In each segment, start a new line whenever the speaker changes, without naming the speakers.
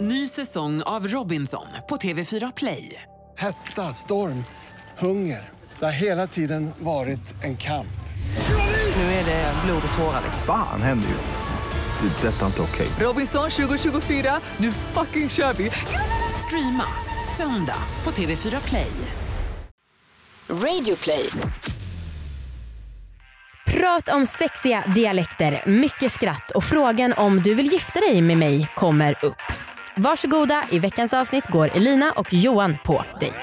Ny säsong av Robinson på TV4 Play.
Hetta, storm, hunger. Det har hela tiden varit en kamp.
Nu är det blod och tårar. liksom.
Fan händer just nu. Det. är Detta är inte okej.
Robinson 2024, nu fucking kör vi! Streama söndag på TV4 Play.
Radio play.
Prat om sexiga dialekter, mycket skratt och frågan om du vill gifta dig med mig kommer upp. Varsågoda, i veckans avsnitt går Elina och Johan på dejt.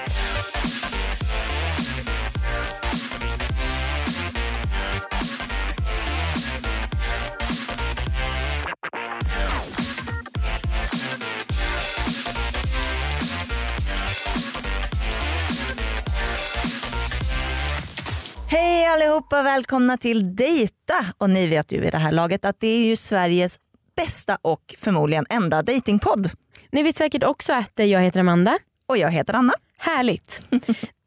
Hej allihopa, välkomna till Dejta. Och ni vet ju i det här laget att det är ju Sveriges bästa och förmodligen enda datingpodd.
Ni vet säkert också att eh, jag heter Amanda.
Och jag heter Anna.
Härligt.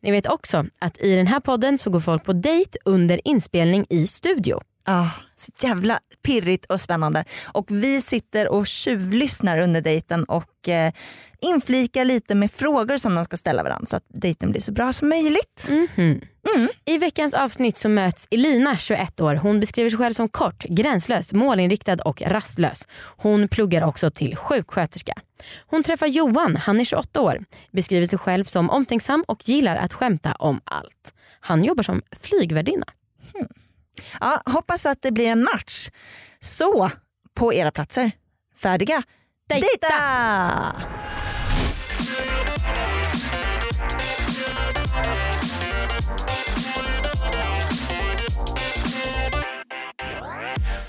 Ni vet också att i den här podden så går folk på dejt under inspelning i studio.
Ah, så jävla pirrigt och spännande. Och vi sitter och tjuvlyssnar under dejten och eh, inflikar lite med frågor som de ska ställa varandra så att dejten blir så bra som möjligt.
Mhm. I veckans avsnitt så möts Elina, 21 år. Hon beskriver sig själv som kort, gränslös, målinriktad och rastlös. Hon pluggar också till sjuksköterska. Hon träffar Johan, han är 28 år. Beskriver sig själv som omtänksam och gillar att skämta om allt. Han jobbar som flygvärdinna.
Ja, hoppas att det blir en match. Så, på era platser. Färdiga?
Dejta!
Dejta!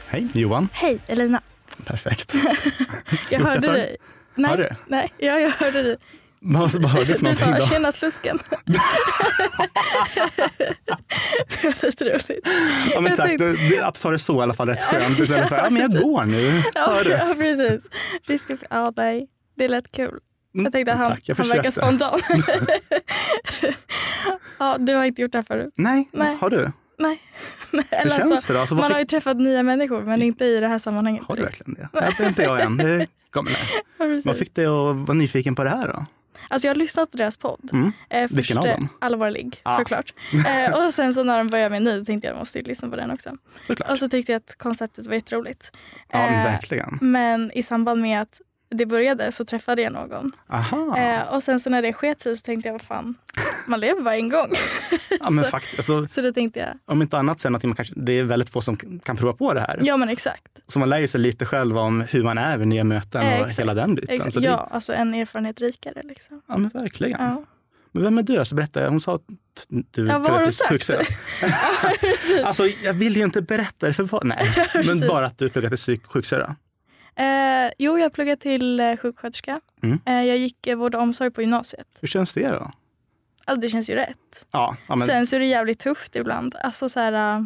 Hej Johan.
Hej Elina.
Perfekt.
Jag
Gjort det
hörde
förr?
dig. Nej,
Har du?
nej, ja, jag hörde dig.
Vad vad hörde du för
Du
någonting
sa
då?
tjena slusken. det var lite roligt.
Ja, men
jag typ-"
tack,
tänkte-
du, du, att du tar det så i alla fall rätt skönt istället för ja, men jag går nu.
Ja,
Hör
ja
röst.
precis. Risken för, ja nej, det lät kul. Jag tänkte att han,
Mm, Tack, jag
han verkar
försökte.
spontan. ja, du har inte gjort det här förut.
Nej,
Nej.
har du?
Nej. Eller
Hur
så,
känns det då? Alltså, vad
man har ju
fick-
träffat nya människor men inte i det här sammanhanget.
Har du verkligen det? Nej, Det är inte jag än. Det kommer där.
Ja, precis.
Vad fick dig att vara nyfiken på det här då?
Alltså jag har lyssnat på deras podd.
Mm.
Eh,
Vilken
först,
av
eh,
dem?
Allvarlig
Ah.
såklart. Eh, och sen så när de började med ny tänkte jag att jag måste ju lyssna på den också.
Såklart.
Och så tyckte jag att konceptet var jätteroligt.
ja,
Eh,
men verkligen.
men i samband med att det började så träffade jag någon.
Aha.
Eh, och sen så när det sket sig så tänkte jag vad fan, man lever bara en gång.
ja, men
så-
fakt- alltså,
så då tänkte jag,
om inte annat så är det någonting man kanske, det är väldigt få som kan prova på det här.
ja men exakt.
Så man lär ju sig lite själv om hur man är vid nya möten
Eh,
och
exakt.
hela den biten.
exakt.
Så det,
Ja, alltså en erfarenhet rikare liksom.
ja, men verkligen.
Ja.
Men vem är du? Alltså, berätta. Hon sa att du
Ja, vad har hon sagt?
sjuksköterska. alltså, jag vill ju inte berätta det för vad. Nej, men
Precis.
bara att du pluggar till psyk- sjuksköterska.
Eh, jo, jag pluggade till eh, sjuksköterska.
Mm.
Eh, jag gick eh, vård och omsorg på gymnasiet.
Hur känns det då?
Alltså det känns ju rätt.
Ja, ja, men,
Sen så är det jävligt tufft ibland. Alltså så här, äh,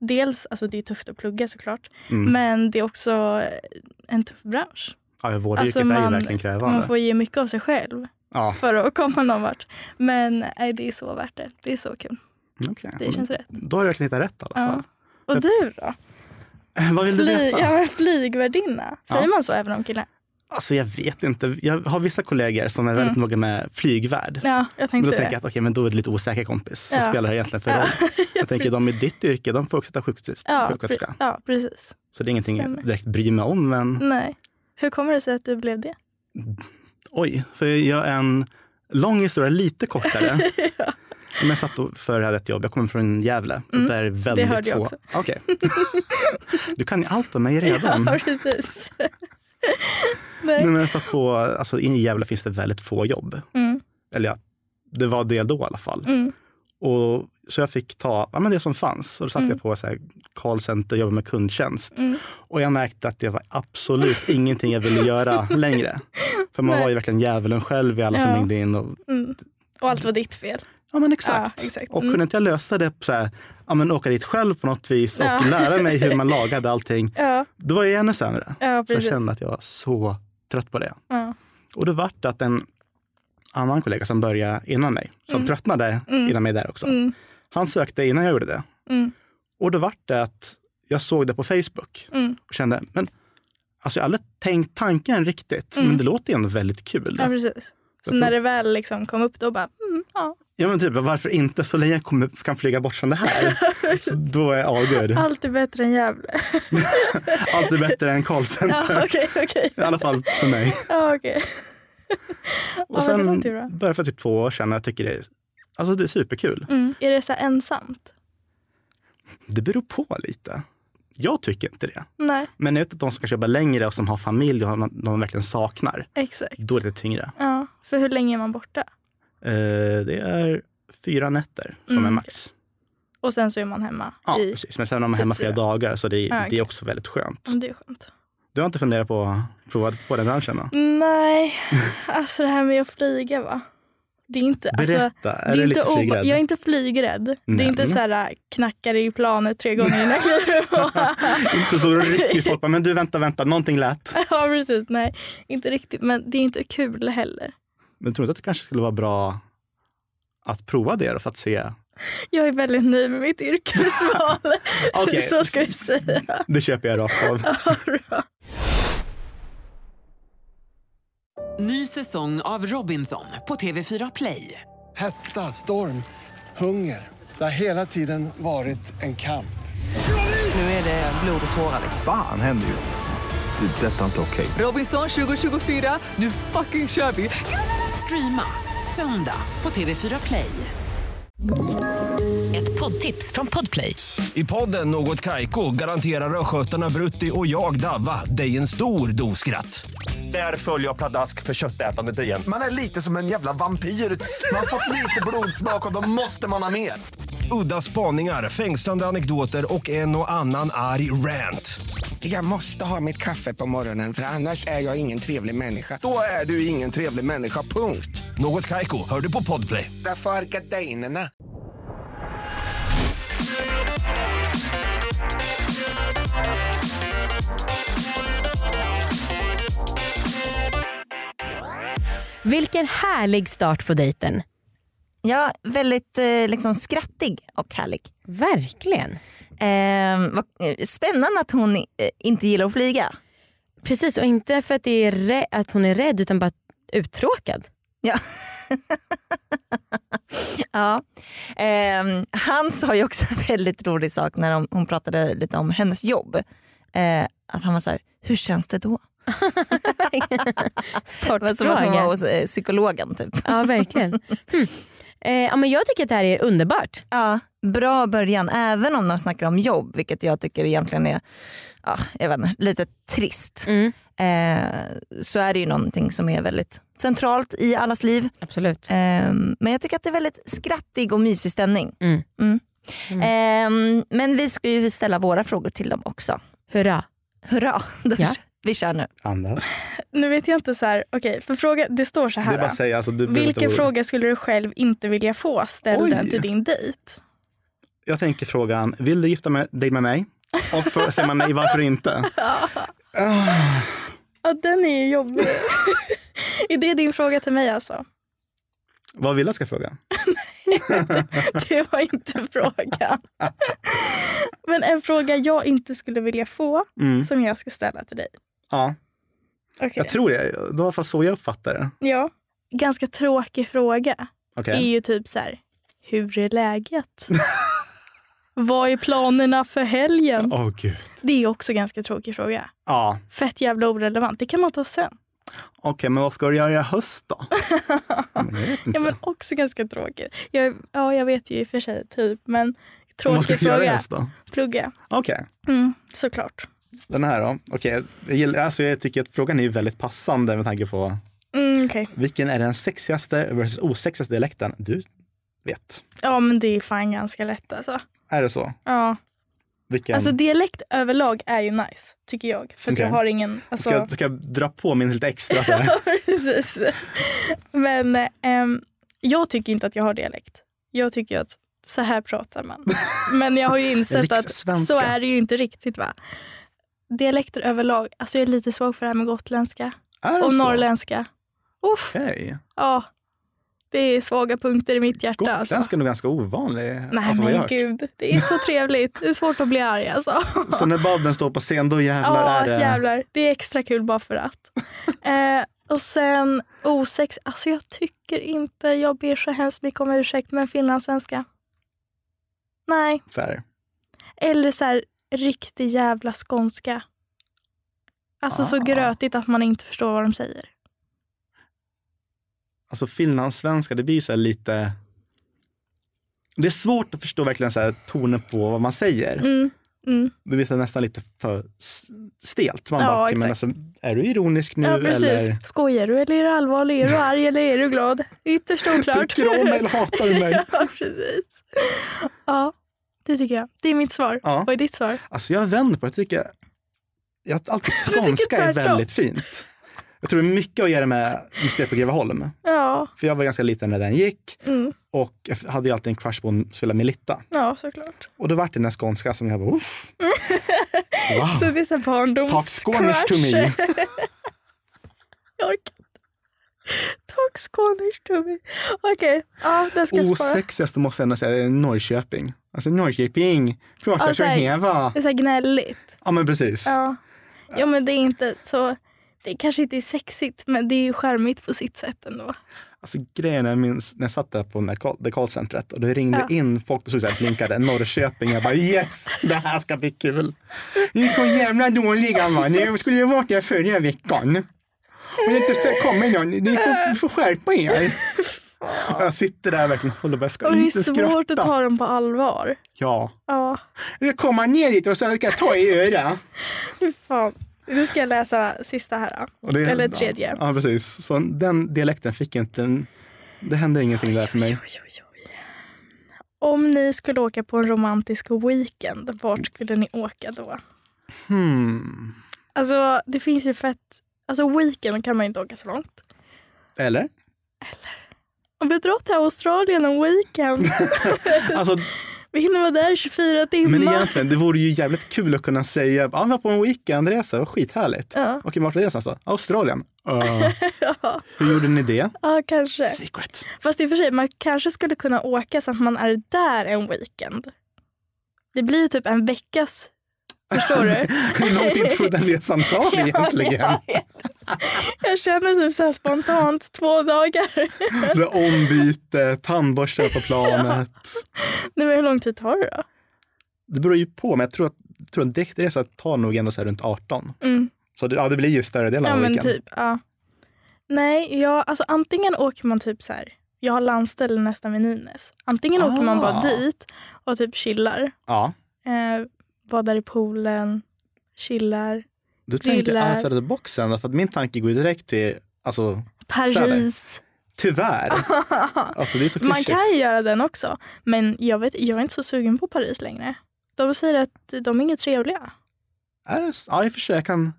dels, alltså det är tufft att plugga såklart,
mm.
men det är också äh, en tuff bransch.
ja, vårdyrket
alltså,
är ju
man-
verkligen krävande.
Man får ge mycket av sig själv
Ja,
för att komma någon vart. Men nej, det är så värt det. Det är så kul.
Mm, okej.
Det känns rätt.
Då har du verkligen hittat rätt i alla fall.
Ja. Och du då?
Vad vill du
Fly,
veta?
ja, men flygvärdinna. Säger
Ja.
man så även om killar?
Alltså, jag vet inte. Jag har vissa kollegor som är väldigt
Mm.
noga med flygvärd.
Ja, jag
Men
tänkte
då
det.
tänker jag att okej, men då är det lite osäker kompis. Vad
Ja.
spelar det egentligen för
Ja.
roll? Jag tänker de i ditt yrke, de får också ta sjuksköterska.
ja, pre- ja, precis.
Så det är ingenting
Stämmer.
jag direkt bryr mig om. Men...
Nej. Hur kommer det sig att du blev det?
Oj, för jag gör en lång historia lite kortare. Men jag satt och för hade ett jobb. Jag kommer från Gävle.
Mm,
och där är väldigt
hörde jag
få...
också.
Okej. du kan ju allt om mig redan.
Ja, precis.
Nej,
Nej.
men jag satt på, alltså, I Gävle finns det väldigt få jobb.
Mm,
Eller ja, det var det då i alla fall.
mm,
Och, så jag fick ta ja, men det som fanns. Och då satt
Mm.
jag på så här, callcenter och jobbade med kundtjänst.
mm.
Och jag märkte att det var absolut ingenting jag ville göra längre. För man
Nej.
var ju verkligen djävulen själv i alla som
Ja.
ringde in. Och,
Mm. Och allt var ditt fel.
Ja men exakt.
Ja, exakt.
Och
Mm.
kunde inte jag lösa det på så här, ja, men åka dit själv på något vis och
Ja.
lära mig hur man lagade allting,
Ja,
då var jag ännu sämre.
ja
Så jag
precis.
kände att jag var så trött på det.
ja.
Och det vart det att en annan kollega som började innan mig, som
Mm.
tröttnade
Mm.
innan mig där också,
Mm,
han sökte innan jag gjorde det.
mm,
Och då vart det att jag såg det på Facebook
mm.
och kände, men Alltså jag har aldrig tänkt tanken riktigt, men det låter ju ändå väldigt kul.
Mm. Ja, precis. Så när det väl liksom kom upp då bara, mm, ja,
Ja, men typ, varför inte? Så länge jag kommer, kan flyga bort från det här, så då är all good.
allt är bättre än Gävle.
Allt är bättre än
Ja,
callcenter.
okej, okej.
I alla fall för mig.
Ja, okej.
Och
Ja, men det
sen
låter ju bra.
började för typ två år sedan och jag tycker det är, alltså det är superkul.
Mm. Är det så här ensamt?
Det beror på lite. Jag tycker inte det.
Nej,
Men jag vet att de som kanske jobbar längre och som har familj och de de verkligen saknar,
exakt.
då är det lite tyngre.
Ja, för hur länge är man borta?
Eh, det är fyra nätter som
Mm,
är max.
Och sen så är man hemma
Ja,
i...
precis. Men sen om man är
typ
hemma flera
fyra.
dagar så det,
Ah, okej.
det är också väldigt skönt.
Mm, Det är skönt.
Du har inte funderat på att prova på den branschen? Då?
Nej, alltså det här med att flyga va? Det är inte... Alltså,
Berätta, är
det
du
är
lite
inte obe-
flygrädd?
Jag är inte flygrädd. Det
Men.
är inte så här äh, knackar i planet tre gånger innan jag kliver på.
Inte så riktigt folk bara, men du vänta, vänta, någonting lät.
Ja precis, nej inte riktigt. Men det är inte kul heller.
Men tror du inte att det kanske skulle vara bra att prova det då för att se?
Jag är väldigt nöjd med mitt yrkesval.
Okej.
Så ska vi säga.
Det köper jag rakt av.
Ny säsong av Robinson på TV4 Play.
Hetta, storm, hunger. Det har hela tiden varit en kamp.
Nu är det blod och tårar. liksom.
Fan händer just nu. Det. är Detta är inte okej.
Robinson 2024, nu fucking kör vi! Streama söndag på TV4 Play.
Ett poddtips från Podplay.
I podden Något Kaiko garanterar östgötarna Brutti och jag, Davva, dig en stor dos skratt. Där följer jag pladask för köttätandet igen.
Man är lite som en jävla vampyr. Man har fått lite blodsmak och då måste man ha mer.
Udda spaningar, fängslande anekdoter och en och annan arg rant.
Jag måste ha mitt kaffe på morgonen för annars är jag ingen trevlig människa. Då är du ingen trevlig människa, punkt.
Något Kaiko, hör du på Podplay.
Därför är gardinerna.
Vilken härlig start på dejten.
Ja, väldigt eh, liksom, skrattig och härlig.
Verkligen.
Eh, vad, eh, spännande att hon eh, inte gillar att flyga.
Precis, och inte för att, det är rä- att hon är rädd utan bara uttråkad.
Ja. ja. Ehm, han sa ju också en väldigt rolig sak när de, hon pratade lite om hennes jobb. Eh, att han var så här, hur känns det då? Det var som att hon var
Sportfråga.
hos eh, psykologen typ.
Ja, verkligen. Hmm. Eh, ja, men jag tycker att det här är underbart.
Ja, bra början även om de snackar om jobb vilket jag tycker egentligen är ja, jag vet inte, lite trist.
Mm.
Eh, så är det ju någonting som är väldigt centralt i allas liv.
Absolut.
Ehm, men jag tycker att det är väldigt skrattig och mysig stämning.
Mm.
Mm. Ehm, men vi ska ju ställa våra frågor till dem också.
Hurra.
Hurra, då
Ja.
vi kör nu.
Andas.
Nu vet jag inte så här, okej för fråga, det står så
Det är
här.
bara
då.
att säga. Alltså, du blir lite
Vilken
orolig.
fråga skulle du själv inte vilja få ställd
Oj.
den till din dejt?
Jag tänker frågan, vill du gifta med, dig med mig? Och för, säger man nej, varför inte?
Ja, den är ju jobbig. är det din fråga till mig alltså?
Vad vill jag ska fråga?
Det var inte frågan. Men en fråga jag inte skulle vilja få
Mm.
som jag ska ställa till dig.
Ja,
Okej.
jag tror det. Det var i alla fall så jag uppfattar det.
Ja. Ganska tråkig fråga
Okej.
är ju typ så här, hur är läget? Vad är planerna för helgen?
Åh gud.
Det är också ganska tråkig fråga.
Ja,
Fett jävla orelevant. Det kan man ta sen.
okej, men vad ska du göra i höst då? Men jag vet inte.
Ja, men också ganska tråkigt. Jag, ja, jag vet ju i och för sig typ, men
vad ska
tråkig
du göra i
fråga.
höst då?
Plugga.
Okej.
Mm, såklart.
Den här då? Okej, jag gillar- alltså jag tycker att frågan är ju väldigt passande med tanke på
Mm, okej.
vilken är den sexigaste versus osexigaste dialekten du vet?
Ja men det är fan ganska lätt alltså.
Är det så?
Ja.
Vilken?
Alltså dialekt överlag är ju nice tycker jag. För att jag
Okej.
har ingen, alltså.
ska, jag, ska jag dra på min lite extra så här?
precis. Men eh, ehm, jag tycker inte att jag har dialekt. Jag tycker att så här pratar man. Men jag har ju insett att
Rikssvenska.
så är det ju inte riktigt va. Dialekter överlag, alltså jag är lite svag för det här med gotländska
Är det
och
så?
norrländska. Uff,
Okej.
ja. Det är svaga punkter i mitt hjärta. Alltså.
Gotländska är nog ganska ovanlig.
Nej
av Alltså, vad jag
men
hört.
gud, det är så trevligt. Det är svårt att bli arg alltså.
Så när Babben står på scen, då jävlar
Ja,
är det...
jävlar. Det är extra kul bara för att. eh, och sen osex. Alltså jag tycker inte, jag ber så hemskt mycket om ursäkt, men finlandssvenska. Nej.
Så här.
Eller så här riktig jävla skånska. Alltså
Ah.
så grötigt att man inte förstår vad de säger.
Alltså finlandssvenska, det blir så här lite... Det är svårt att förstå verkligen så här tonen på vad man säger.
Mm. Mm.
Det blir så här nästan lite för s- stelt. Man
Ja,
bara, "Okej, men
exakt.
alltså, är du ironisk nu
ja precis.
eller
Skojar du eller är du allvarlig? Är du arg eller är du glad? Ytterst oklart.
tycker du om mig eller hatar du mig?
ja, precis. Ja, det tycker jag. Det är mitt svar.
Ja.
Vad är ditt svar?
Alltså jag vänder på det. Jag tycker, jag, alltid,
tycker
skånska är
tvärtom.
väldigt fint. Jag tror det är mycket att göra med museet på Greveholm.
Ja,
För jag var ganska liten när den gick
mm.
och jag hade ju alltid en crush på en Sula Melitta.
ja såklart.
Och då vart det den här skånska som jag bara, uff. Wow.
Så det är så här
Talk Skånish to me.
barndomscrush. Jag orkar inte. Talk Skånish to me. Okej, ja, den ska jag spara.
Osexigaste måste jag ändå säga är Norrköping. Alltså Norrköping, pratar
Ja,
så
så här-
heva.
Det är så här gnälligt.
Ja men precis.
Ja. ja, men det är inte så... Det kanske inte är sexigt, men det är ju charmigt på sitt sätt ändå.
Alltså grejen är, jag minns när jag satt där på den här call- det callcentret och det ringde
Ja.
in folk och så här blinkade Norrköping. Jag bara yes, det här ska bli kul. Ni är så jävla dåliga va. Ni skulle ju ha varit där förra veckan. Om ni inte ska- kommer någon, ni får, ni får skärpa er. Och jag sitter där verkligen och håller på, jag ska
Och det är
inte
svårt att
skratta.
ta dem på allvar.
Ja.
Ja,
Jag ska komma ner dit och så ska jag ta i öra.
fy fan. Nu ska jag läsa sista här. då.
Och det-
Eller tredje.
Ja, precis. Så den dialekten fick jag inte, en- det hände ingenting där för mig.
Oj, oj, oj, oj. Om ni skulle åka på en romantisk weekend, vart skulle ni åka då?
Hmm.
Alltså det finns ju fett, alltså weekend kan man inte åka så långt.
Eller?
Om vi drar till Australien en weekend,
Alltså,
vi hinner vara där i 24 timmar.
men egentligen, det vore ju jävligt kul att kunna säga, ja, vi var på en weekendresa, vad skithärligt.
Ja.
Okej, vart var det någonstans då? Australien. Uh. Hur gjorde ni det?
Ja, kanske.
Secret.
Fast i och för sig, man kanske skulle kunna åka så att man är där en weekend. Det blir ju typ en veckas, förstår du?
Hur lång tid tog den resan tar egentligen?
Ja, jag vet. Jag känner typ så här spontant två dagar.
Så ombyte, tandborstar på planet.
Nej, men hur lång tid tar det då?
Det beror ju på, men jag tror att, jag tror att en direktresa tar nog ändå så här runt 18.
Mm.
Så det, ja, det blir ju större delen
Ja
av
men
weekenden.
typ. Ja. Nej, ja, alltså antingen åker man typ så här. Jag har landställe nästan vid Nynäs. Antingen åker man bara
Ah.
dit och typ chillar.
Ja.
Eh, badar i poolen, chillar.
Du
Grillar.
tänker outside of the box sen, för att min tanke går ju direkt till, alltså
Paris.
tyvärr. alltså det är så
Man
klyschigt.
kan ju göra den också. Men jag, vet, jag är inte så sugen på Paris längre. De säger att de är inget trevliga.
Är det så? Ja, i och för sig, jag kan,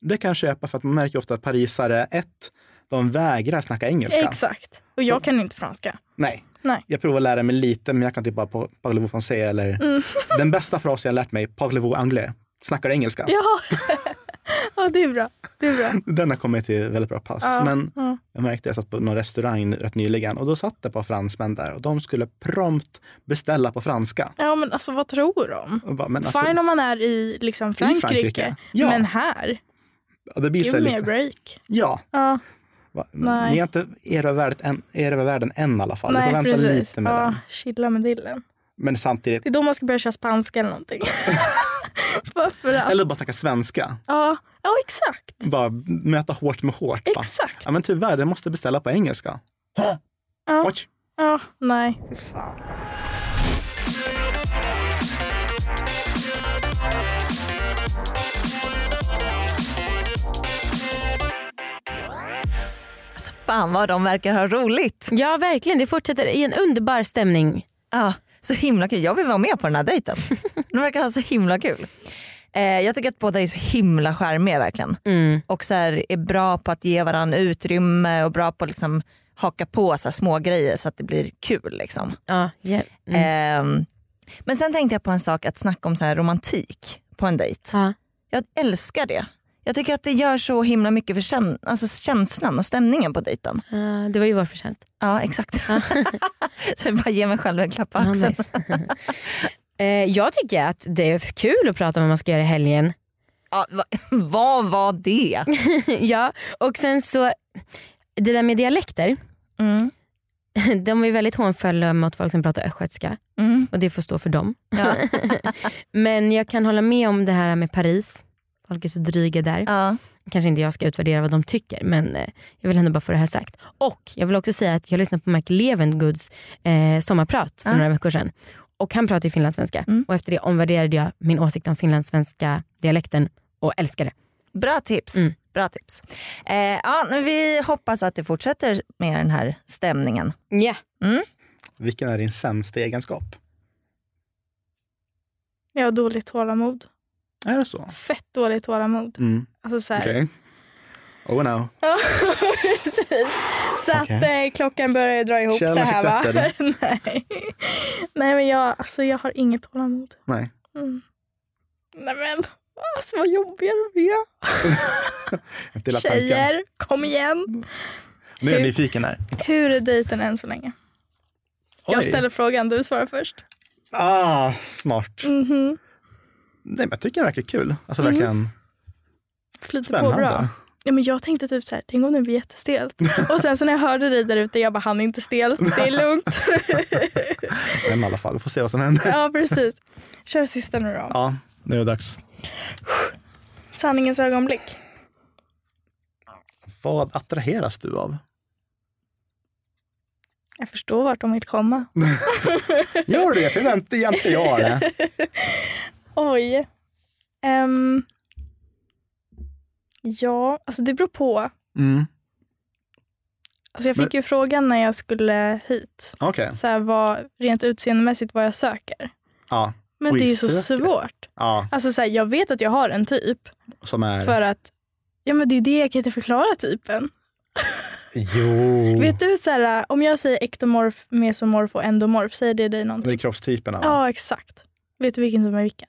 det kan jag köpa för att man märker ofta att parisare, ett, de vägrar snacka engelska.
Exakt. Och jag kan inte franska.
Nej.
Nej.
Jag provar att lära mig lite, men jag kan typ bara på parlez-vous français eller
Mm.
den bästa frasen jag lärt mig, parlez-vous anglais. Snackar du engelska?
Ja. ja, det är bra. Det är bra.
Den har kommit till väldigt bra pass.
Ja,
Men
ja.
jag märkte att jag satt på någon restaurang rätt nyligen och då satt det ett par fransmän där och de skulle prompt beställa på franska.
Ja, men alltså vad tror de?
Och bara, men alltså,
Fine om man är i liksom
Frankrike,
Frankrike,
ja.
men här,
ja, det blir så
give me
här
a
lite,
break.
ja,
Ja,
va,
Nej.
ni är inte era världen än, era världen än i alla fall. du får
nej
vänta
precis.
lite med
Ja,
den.
chilla med dillen.
Men samtidigt,
Det är då man ska börja köra spanska eller någonting. Varför att?
eller bara snacka svenska.
Ja, ja exakt.
Bara möta hårt med hårt. va?
Exakt.
Ja, men tyvärr, det måste beställa på engelska. Hå!
Ja.
Oj.
Ja, nej. Fy Fan.
Alltså, fan vad de verkar ha roligt.
Ja verkligen, det fortsätter i en underbar stämning.
Ja, så himla kul. Jag vill vara med på den här dejten. De verkar ha så himla kul. Eh, jag tycker att båda är så himla charmiga verkligen. Och så här, är bra på att ge varandra utrymme och bra på att liksom, haka på så här, små grejer så att det blir kul. Liksom.
Ja, ja. Mm.
Eh, men sen tänkte jag på en sak, att snacka om så här, romantik på en dejt.
Ja.
Jag älskar det. Jag tycker att det gör så himla mycket för kän- alltså känslan och stämningen på dejten.
Eh, det var ju vår förtjänst.
Ja exakt. så jag bara ger mig själv en klapp på
Ja,
axeln.
nice. Eh, jag tycker att det är kul att prata om vad man ska göra i helgen.
Ja, va, vad var det?
ja, och sen så, det där med dialekter,
Mm.
de är ju väldigt hånfulla mot folk som pratar östgötska
Mm.
och det får stå för dem.
Ja.
Men jag kan hålla med om det här med Paris. Folk är så dryga där.
Ja.
Kanske inte jag ska utvärdera vad de tycker men eh, jag vill ändå bara få det här sagt. Och jag vill också säga att jag lyssnade på Mark Levenguds eh, sommarprat för
Ah.
några veckor sedan. Och han pratar ju finlandssvenska
Mm.
och efter det omvärderade jag min åsikt om finlandssvenska dialekten och älskar det.
Bra tips.
Mm.
Bra tips. Eh, ja, men vi hoppas att det fortsätter med den här stämningen.
Yeah.
Vilken är din sämsta egenskap?
Jag har dåligt tålamod.
Är det så?
Fett dåligt tålamod.
Mm.
Alltså så här.
Okej. Oh no.
Så att
Okej.
eh, klockan börjar dra ihop
Challenge
så här va?
accepted.
Nej. Nej men jag, alltså, jag har inget tålamod.
Nej.
Mm. Nej men alltså vad jobbiga de är.
Inte hela tanken.
Tjejer, kom igen.
Nu är jag nyfiken här.
Hur är dejten än så länge? Jag
Oj.
ställer frågan, du svarar först.
Ah, smart.
Mhm.
Nej, men jag tycker den verkar kul. Alltså verkligen
Flyter på bra.
spännande.
Ja, men jag tänkte typ så här, tänk om det blir jättestelt. Och sen så när jag hörde dig där ute, jag bara han är inte stel, det är lugnt.
Men i alla fall, vi får se vad som händer.
ja precis. Kör sista nu då.
Ja, nu är det dags.
Sanningens ögonblick.
Vad attraheras du av?
Jag förstår vart de vill komma.
Gör det, för vänta jämte jag det.
Oj. Ehm. ja, alltså det beror på.
Mm.
Alltså jag
Men-
fick ju frågan när jag skulle hit,
Okej.
så här, vad, rent utseendemässigt vad jag söker.
Ja.
Men
Oj,
det är ju så
söker.
svårt.
ja,
Alltså så här, jag vet att jag har en typ
som är...
för att ja, men det är ju det jag kan inte förklara typen.
Jo.
Vet du så här, om jag säger ektomorf, mesomorf och endomorf, säger det dig någonting?
Det är kroppstyperna va?
Ja exakt. Vet du vilken som är vilken?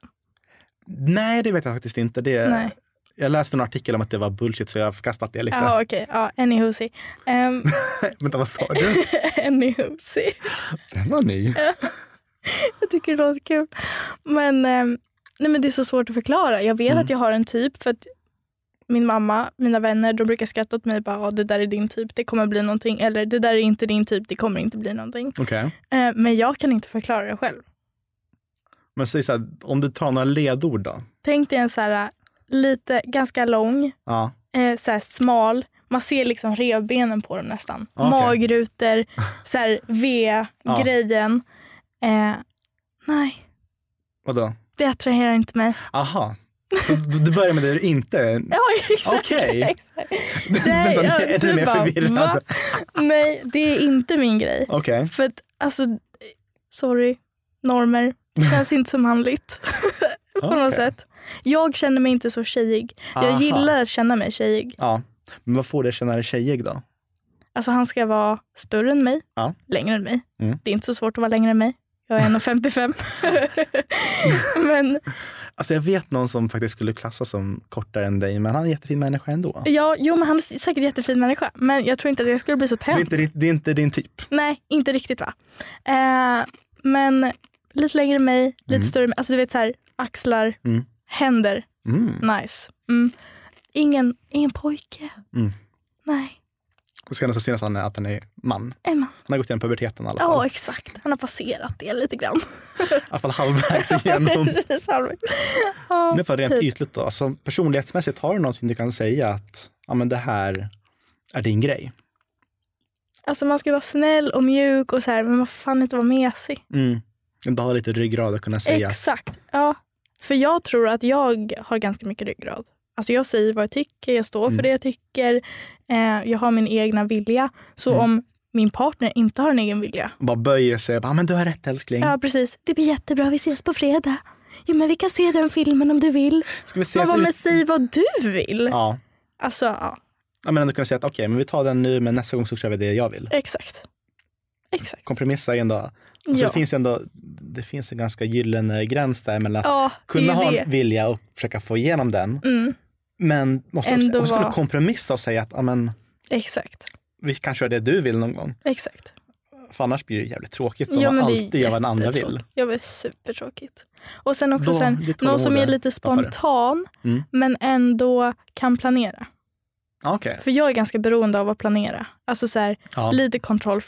Nej, det vet jag faktiskt inte. Det,
Nej.
Jag läste en artikel om att det var bullshit så jag har förkastat det lite.
Jaha okej, ja, anyhoosy. Um,
Vänta, vad sa du?
anyhoosy.
Den var ny.
Jag tycker det låter kul. Men, ehm, nej, men det är så svårt att förklara. Jag vet
Mm.
att jag har en typ för att min mamma, mina vänner, de brukar skratta åt mig bara ah, det där är din typ, det kommer bli någonting. Eller det där är inte din typ, det kommer inte bli någonting.
Okej.
Eh, men jag kan inte förklara det själv.
Men säg så här, om du tar några ledord då?
Tänk dig en så här lite, ganska lång,
Ja.
eh, så här smal. Man ser liksom revbenen på dem nästan.
Ah, Okej.
Magrutor, så här V-grejen. Eh, nej,
Vadå?
det attraherar inte mig.
Aha. Så du du börjar med det du inte...
Ja, exakt.
Okej.
exakt.
Vänta, nu
ja,
är jag ännu
du
mer
bara,
förvirrad.
"Va?" Nej, det är inte min grej.
Okej.
För att, alltså, sorry, normer. Det känns inte så manligt på något
Okej.
sätt. Jag känner mig inte så tjejig. Jag
Aha.
gillar att känna mig tjejig.
Ja. Men vad får dig att känna dig tjejig då?
Alltså han ska vara större än mig,
Ja.
längre än mig.
Mm.
Det är inte så svårt att vara längre än mig. Jag är 1,55. men
Alltså jag vet någon som faktiskt skulle klassas som kortare än dig, men han är en jättefin människa ändå.
ja, jo, men han är säkert en jättefin människa. Men jag tror inte att jag skulle bli så
Det är
tänd.
inte, ditt- det är inte din typ.
Nej, inte riktigt va. Eh, men lite längre än mig, lite
Mm.
större. än mig. Alltså du vet så här, axlar,
Mm.
händer,
Mm.
nice. Mm. Ingen, ingen pojke.
Mm.
Nej,
Det ska nästan synas han är- att han är man.
Emma.
Han har gått igenom puberteten i alla
Ja,
fall.
exakt. Han har passerat det lite grann.
I alla fall halvvägs igenom.
Precis, halvvägs. Ja,
Men för rent
typ.
ytligt då, alltså, personlighetsmässigt har du någonting du kan säga att ja, men det här är din grej?
Alltså man ska vara snäll och mjuk och så här, men man får fan inte vara mesig.
Mm. Du har lite ryggrad att kunna säga att
Exakt. Ja. För jag tror att jag har ganska mycket ryggrad. Alltså jag säger vad jag tycker, jag står för
Mm.
det jag tycker. Eh, jag har min egna vilja. Så
Mm.
om min partner inte har en egen vilja.
bara böjer sig, ja men du har rätt älskling.
Ja precis. Det blir jättebra, vi ses på fredag. Jo men vi kan se den filmen om du vill.
Ska vi
Man
ses
bara,
ut?
men säg vad du vill.
Ja.
Alltså ja,
ja, men ändå kunna säga att okej, men vi tar den nu, men nästa gång så kör vi det jag vill.
exakt. Exakt.
Kompromissa är ändå, alltså,
Ja.
det, finns ändå det finns en ganska gyllene gräns där mellan att
Ja, det
kunna
är
ha
ju det.
en vilja och försöka få igenom den,
Mm.
Men måste
Ändå
också, hon skulle
var-
kompromissa och säga att "Amen,
Exakt.
vi kan köra det du vill någon gång.
Exakt.
För annars blir det jävligt tråkigt om
Ja,
man
men det är
alltid gör vad den andra vill.
Ja, men supertråkigt. Och sen också
Då-
sen,
det tålamod
någon som är
där
lite
tappar det.
spontan
Mm.
men ändå kan planera.
Ja, Okej,
För jag är ganska beroende av att planera. Alltså så här,
Ja.
lite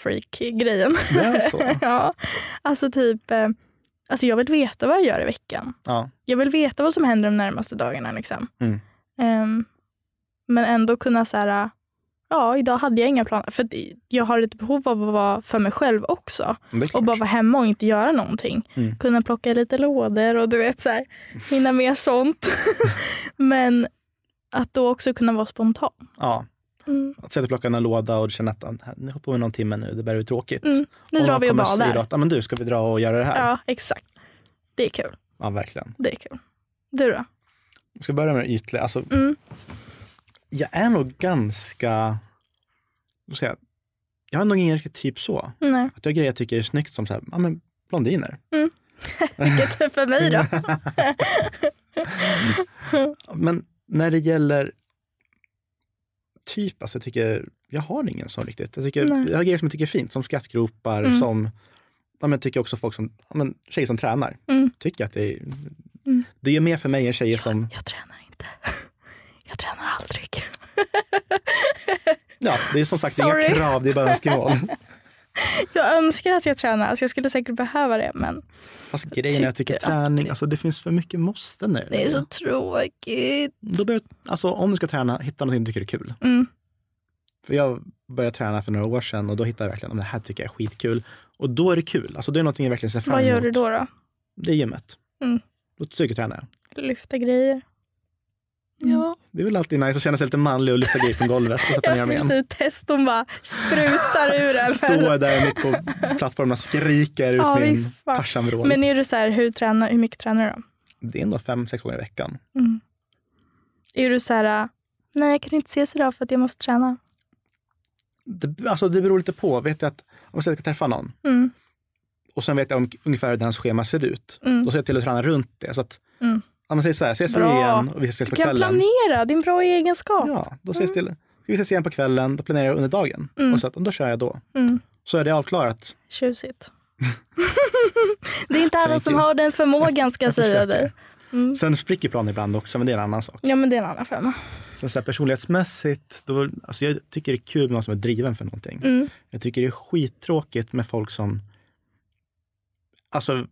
kontrollfreak-grejen.
det är så.
ja. Alltså typ, eh, alltså jag vill veta vad jag gör i veckan.
Ja.
Jag vill veta vad som händer de närmaste dagarna. Liksom.
Mm.
Ehm, men ändå kunna så här, ja idag hade jag inga planer. För att jag har ett behov av att vara för mig själv också.
men det är
Och
klart.
bara vara hemma och inte göra någonting.
Mm.
Kunna plocka i lite lådor och du vet så här, hinna med sånt. men att då också kunna vara spontan.
Ja.
Mm.
Att sätta och plocka en låda och känna att "Ah, nu har på med någon timme nu, det börjar bli tråkigt.
Mm. Nu
Och
drar
man
vi och
kommer styra
badar.
Att, "Ah, men du, ska vi dra och göra det här?
Ja, exakt. Det är kul.
Ja, verkligen.
Det är kul. Du då?
Jag ska börja med det ytliga. Alltså,
Mm.
Jag är nog ganska, vad ska jag, säga? jag har nog ingen riktigt typ så.
Nej.
Att jag har grejer jag tycker är snyggt som så här, ja, men blondiner.
Vilket är för mig då?
Men när det gäller typ, alltså jag tycker, jag har ingen sån riktigt. Jag, tycker,
Nej.
jag har grejer som jag tycker är fint, som skrattgropar,
Mm.
som, ja, men jag tycker också folk som, ja, men tjejer som tränar.
Mm.
Tycker att det är,
Mm.
det är mer för mig än tjejer som,
Jag tränar inte. Jag tränar aldrig.
ja det är som sagt
Sorry.
inga krav, det är bara önskemål.
Jag önskar att jag tränar. Alltså jag skulle säkert behöva det men
Fast grejen är, jag tycker
Tycker att
träning,
det-
alltså det finns för mycket måsten nu.
det är så tråkigt.
Då bör, alltså, om du ska träna, hitta någonting du tycker är kul.
Mm.
För jag började träna för några år sedan och då hittade jag verkligen om det här tycker jag är skitkul. Och då är det kul. Alltså, det är någonting jag verkligen ser fram
Vad gör
emot.
du då? då?
Det är gymmet.
Mm.
Då styrketränar jag.
Lyfta grejer? Mm.
Ja, det är väl alltid nice att känna sig lite manlig och lyfta grejer från golvet och sätta ner
Jag
mig igen.
precis test. Hon bara sprutar ur en.
Står där mitt på plattformen och skriker ut
Ja,
min
fy fan.
Tarzan-vrål.
Men är du så här, hur, tränar, hur mycket tränar du då?
Det är ändå fem, sex gånger i veckan.
Mm. Är du så här, äh, nej jag kan inte ses idag för att jag måste träna.
Det, alltså, det beror lite på. Vet jag att om jag säger att jag ska träffa någon
Mm.
och sen vet jag om, ungefär hur hans schema ser ut.
Mm.
Då ser jag till att träna runt det. Så att,
Mm.
ja, men säg så här, ses vi
Bra.
igen och vi ses
Du
på
kan
kvällen.
planera, din bra egenskap.
Ja, då ses till. Vi ses igen på kvällen, då planerar jag under dagen.
Mm.
Och så att, då kör jag då.
Mm.
Så är det avklarat.
Tjusigt. det är inte alla
Thank
som
you.
har den förmågan ska jag,
jag
säga
försöker.
dig. Mm.
Sen spricker planen ibland också, men det är en annan sak.
Ja men det är en annan femma.
Sen så här, personlighetsmässigt, då, alltså jag tycker det är kul med någon som är driven för någonting.
Mm.
Jag tycker det är skittråkigt med folk som, alltså,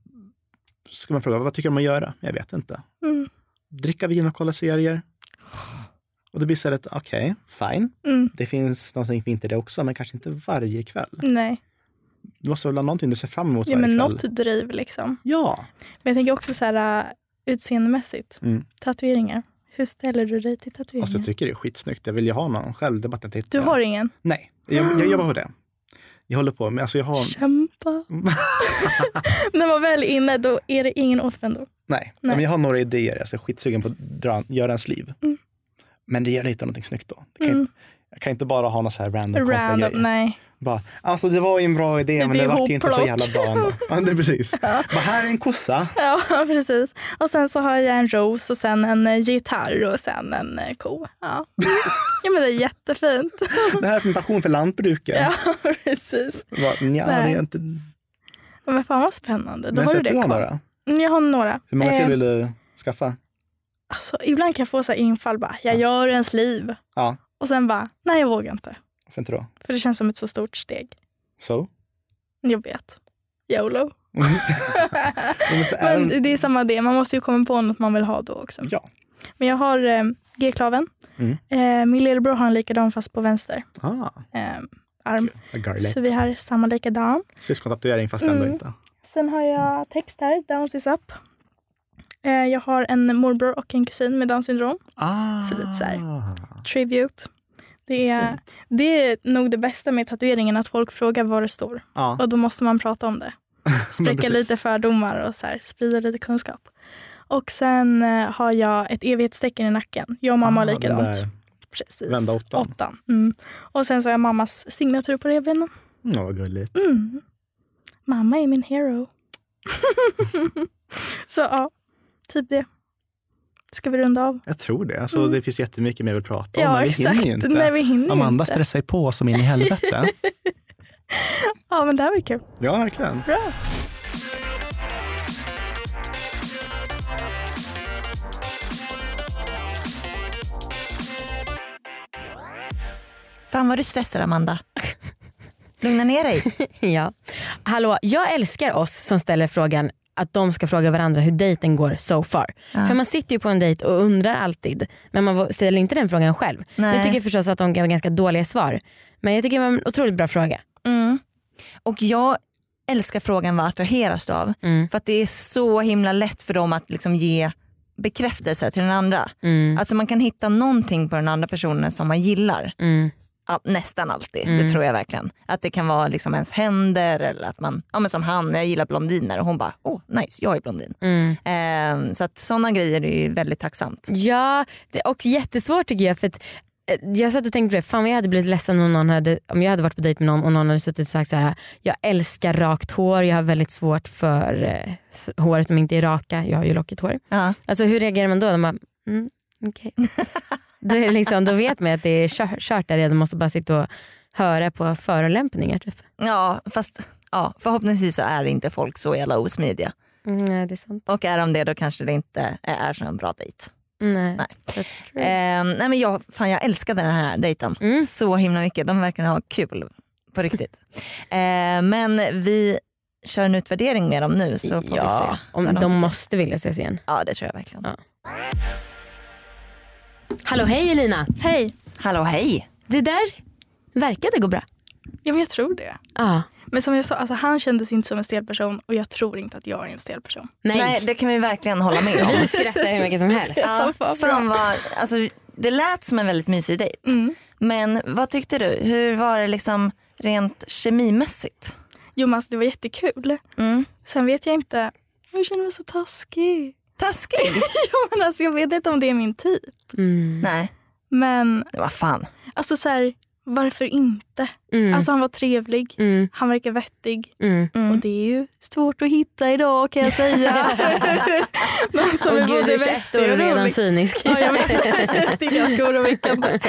ska man fråga, vad tycker de om att göra? Jag vet inte.
Mm.
Dricka vin och kolla serier. Och det blir så här att, okej, fine.
Mm.
Det finns någonting fint i det också, men kanske inte varje kväll.
Nej,
Du måste väl ha någonting du ser fram emot
ja,
varje
men
kväll?
något driv liksom.
Ja,
Men jag tänker också så här äh, utseendemässigt.
Mm.
Tatueringar. Hur ställer du dig till tatueringar?
Alltså, jag tycker det är skitsnyggt. Jag vill ju ha någon själv. Det är bara att jag inte hittar
du
någon.
har ingen?
Nej, jag, jag jobbar på det. Jag håller på med, alltså jag har,
Kämpa. När man väl är inne då är det ingen återvändo.
nej. Men jag har några idéer. Alltså, jag är skitsugen på att dra, göra en sliv. Men det gäller att hitta någonting snyggt då. Det kan
Mm.
inte, jag kan inte bara ha några så här random, konstiga
Random,
grejer.
nej.
Bara, alltså det var ju en bra idé men
Det
det,
är
vart ju inte så
hopplock.
jävla bra ändå. Ja, det är precis. Bara, här är en kossa.
Ja, precis. Och sen så har jag en ros och sen en eh, gitarr och sen en eh, ko. Ja. ja, men det är jättefint.
Det här är min passion för lantbruket.
Ja, precis.
Bara, nja, det
Nej.
är inte...
Men fan vad spännande. Då
Men
har
så
du
att du
det
har
kvar.
några.
Mm, Jag har några.
Hur många till
Eh,
vill du skaffa?
alltså, ibland kan jag få så här infall bara, jag gör ens liv.
Ja,
Och sen bara, nej jag vågar inte.
varför inte då?
För det känns som ett så stort steg.
So?
Jag vet. YOLO.
Men så är
Men det är samma det, man måste ju komma på något man vill ha då också.
Ja.
Men jag har eh, G-klaven.
Mm.
Eh, min lillebror har en likadan fast på vänster
Ah,
eh, arm.
a garlic.
Så vi har samma likadan.
Syskontatuering fast ändå
Mm.
inte.
Sen har jag text här, Downs is up. Eh, jag har en morbror och en kusin med Downs syndrom.
Ah.
Så lite så Tribute. Det är, det är nog det bästa med tatueringen, att folk frågar vad det står.
Ja.
Och då måste man prata om det.
Men
Spräcka
precis.
lite fördomar och så här, sprida lite kunskap. Och sen eh, har jag ett evighetstecken i nacken. Jag och mamma har
Ah, den
likadant.
där.
Precis.
vända åttan.
Mm. Och sen så har jag mammas signatur på revbenen.
Ja, vad gulligt.
Mm. Mamma är min hero. så ja, typ det. Ska vi runda av?
Jag tror det. Alltså, Det finns jättemycket mer jag vill prata om,
Mm. ja,
men vi
exakt.
hinner ju inte.
Nej, vi hinner ju
Amanda
inte.
stressar ju på som in i helvete.
Ja, men det här var kul.
ja, verkligen.
Bra.
Fan vad du stressar Amanda. Lugna ner dig.
Ja. Hallå, jag älskar oss som ställer frågan att de ska fråga varandra hur dejten går so far. För man sitter ju på en dejt och undrar alltid men man vå- ställer inte den frågan själv.
Nej.
Jag tycker förstås att de gav ganska dåliga svar men jag tycker det var en otroligt bra fråga.
Mm. Och jag älskar frågan vad attraheras du av?
Mm.
För att det är så himla lätt för dem att liksom ge bekräftelse till den andra.
Mm.
Alltså man kan hitta någonting på den andra personen som man gillar.
Mm.
Ja, nästan alltid, det tror jag verkligen. Att det kan vara liksom ens händer eller att man, ja men som han, jag gillar blondiner och hon bara, oh nice, jag är blondin.
Mm.
Ehm, så att sådana grejer är ju väldigt tacksamt.
Ja, det är också jättesvårt tycker jag. För att, eh, jag satt och tänkte på det, fan vad jag hade blivit ledsen om, någon hade, om jag hade varit på dejt med någon och någon hade suttit och sagt så här: jag älskar rakt hår, jag har väldigt svårt för eh, s- hår som inte är raka, jag har ju lockigt hår.
Ja.
Alltså hur reagerar man då? De bara, mm, okej. då, är det liksom, då vet man att det är kör- kört där redan, måste bara sitta och höra på förolämpningar. Typ.
ja, fast ja, förhoppningsvis så är inte folk så jävla osmidiga.
Mm, nej det är sant.
Och är de det då kanske det inte är så en bra dejt.
Nej,
Nej.
That's true.
Ehm, nej men jag, fan, jag älskade den här dejten
Mm.
så himla mycket. De verkar ha kul på riktigt. Ehm, men vi kör en utvärdering med dem nu så får vi
ja,
se.
om
vad
de,
tycker.
måste vilja ses igen.
Ja det tror jag verkligen.
Ja. Hallå hej Elina!
Hej.
Hallå hej!
Det där verkade gå bra.
Ja, men jag tror det.
Ja.
Men som jag sa, alltså, han kändes inte som en stel person och jag tror inte att jag är en stel person.
Nej.
Nej det kan vi verkligen hålla med om.
Vi skrattar hur mycket som helst.
Ja,
vad bra.
fan vad, alltså, det lät som en väldigt mysig dejt.
Mm.
Men vad tyckte du? Hur var det liksom rent kemimässigt?
Jo, men alltså, det var jättekul.
Mm.
Sen vet jag inte, jag känner mig så taskig.
Taskig?
ja, men alltså, jag vet inte om det är min typ.
Mm,
Nej,
Men
vad fan.
alltså så här, varför inte?
Mm.
Alltså han var trevlig,
Mm.
han verkar vettig.
Mm.
Och det är ju svårt att hitta idag kan jag säga. Någon som
Åh
är
gud, du
både
är 21 år
vettig och
och redan
rolig.
cynisk.
Ja, jag vet. Det är ganska oroväckande.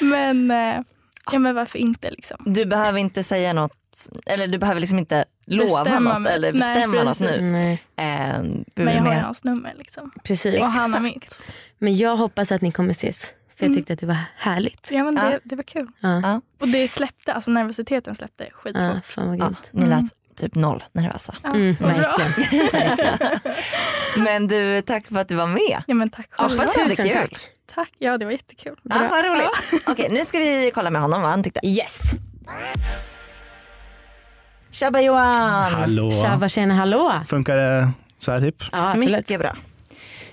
Men, eh, ja, men varför inte liksom?
Du behöver inte säga något, eller du behöver liksom inte lova
Bestämma
något
mig.
eller
Nej,
bestämma något
precis.
nu.
Nej,
Eh, du
Men
är
jag har
med.
ju hans nummer liksom.
precis.
Och han Mm. har mitt.
Men jag hoppas att ni kommer ses. För jag tyckte att det var härligt.
Så ja, men det,
Ja.
det var kul.
Ja.
Ja.
Och det släppte, alltså nervositeten släppte skitfort.
Ja, fan vad
ja,
grymt.
ni
Mm.
lät typ noll nervösa.
Ja,
Mm,
vad bra.
verkligen.
Men du, tack för att du var med.
Ja, men tack
Ja,
själv.
fast- det är
Tusen
kul.
tack.
Tack, ja det var jättekul.
Ja, vad roligt. Okej, nu ska vi kolla med honom vad han tyckte.
Yes.
Tjabba Johan!
Hallå.
Tjabba tjena hallå.
Funkar det så här typ?
Ja, absolut.
Mycket bra.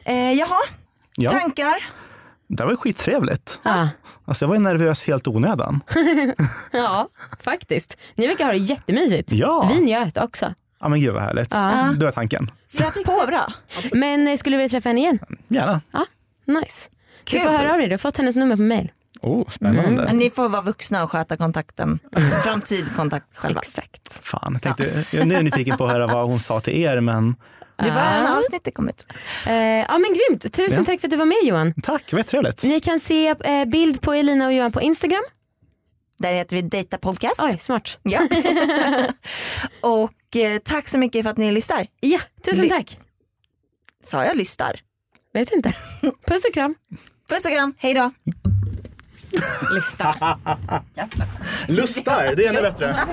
Eh, jaha,
Ja.
tankar?
Det var ju skittrevligt.
Ja.
Alltså jag var ju nervös helt onödan.
ja, faktiskt. Ni verkar ha det jättemysigt.
Ja.
Vi njöt också.
Ja men gud vad härligt.
Ja.
Du har tanken.
Flöt på bra.
Men eh, skulle du vilja träffa henne igen?
Gärna.
Nice. Du
Kul.
får höra av dig. Du har fått hennes nummer på mail.
Mm.
Oh, spännande.
Men Ni får vara vuxna och sköta kontakten, framtid kontakt själva.
Exakt.
Fan, jag, tänkte, jag är nu nyfiken på att höra vad hon sa till er, men
Det var en avsnitt det kom ut.
Eh, ja men grymt. Tusen
Ja.
tack för att du var med Johan.
tack, vad trevligt.
Ni kan se eh, bild på Elina och Johan på Instagram.
Där heter vi Data Podcast.
Oj, smart.
Ja. och eh, tack så mycket för att ni lyssnar.
Ja, tusen
Ly-
tack.
Sa jag lyssnar?
Vet inte. Puss och kram.
Puss och kram, hej då.
Lista.
Lustar, det är ännu bättre.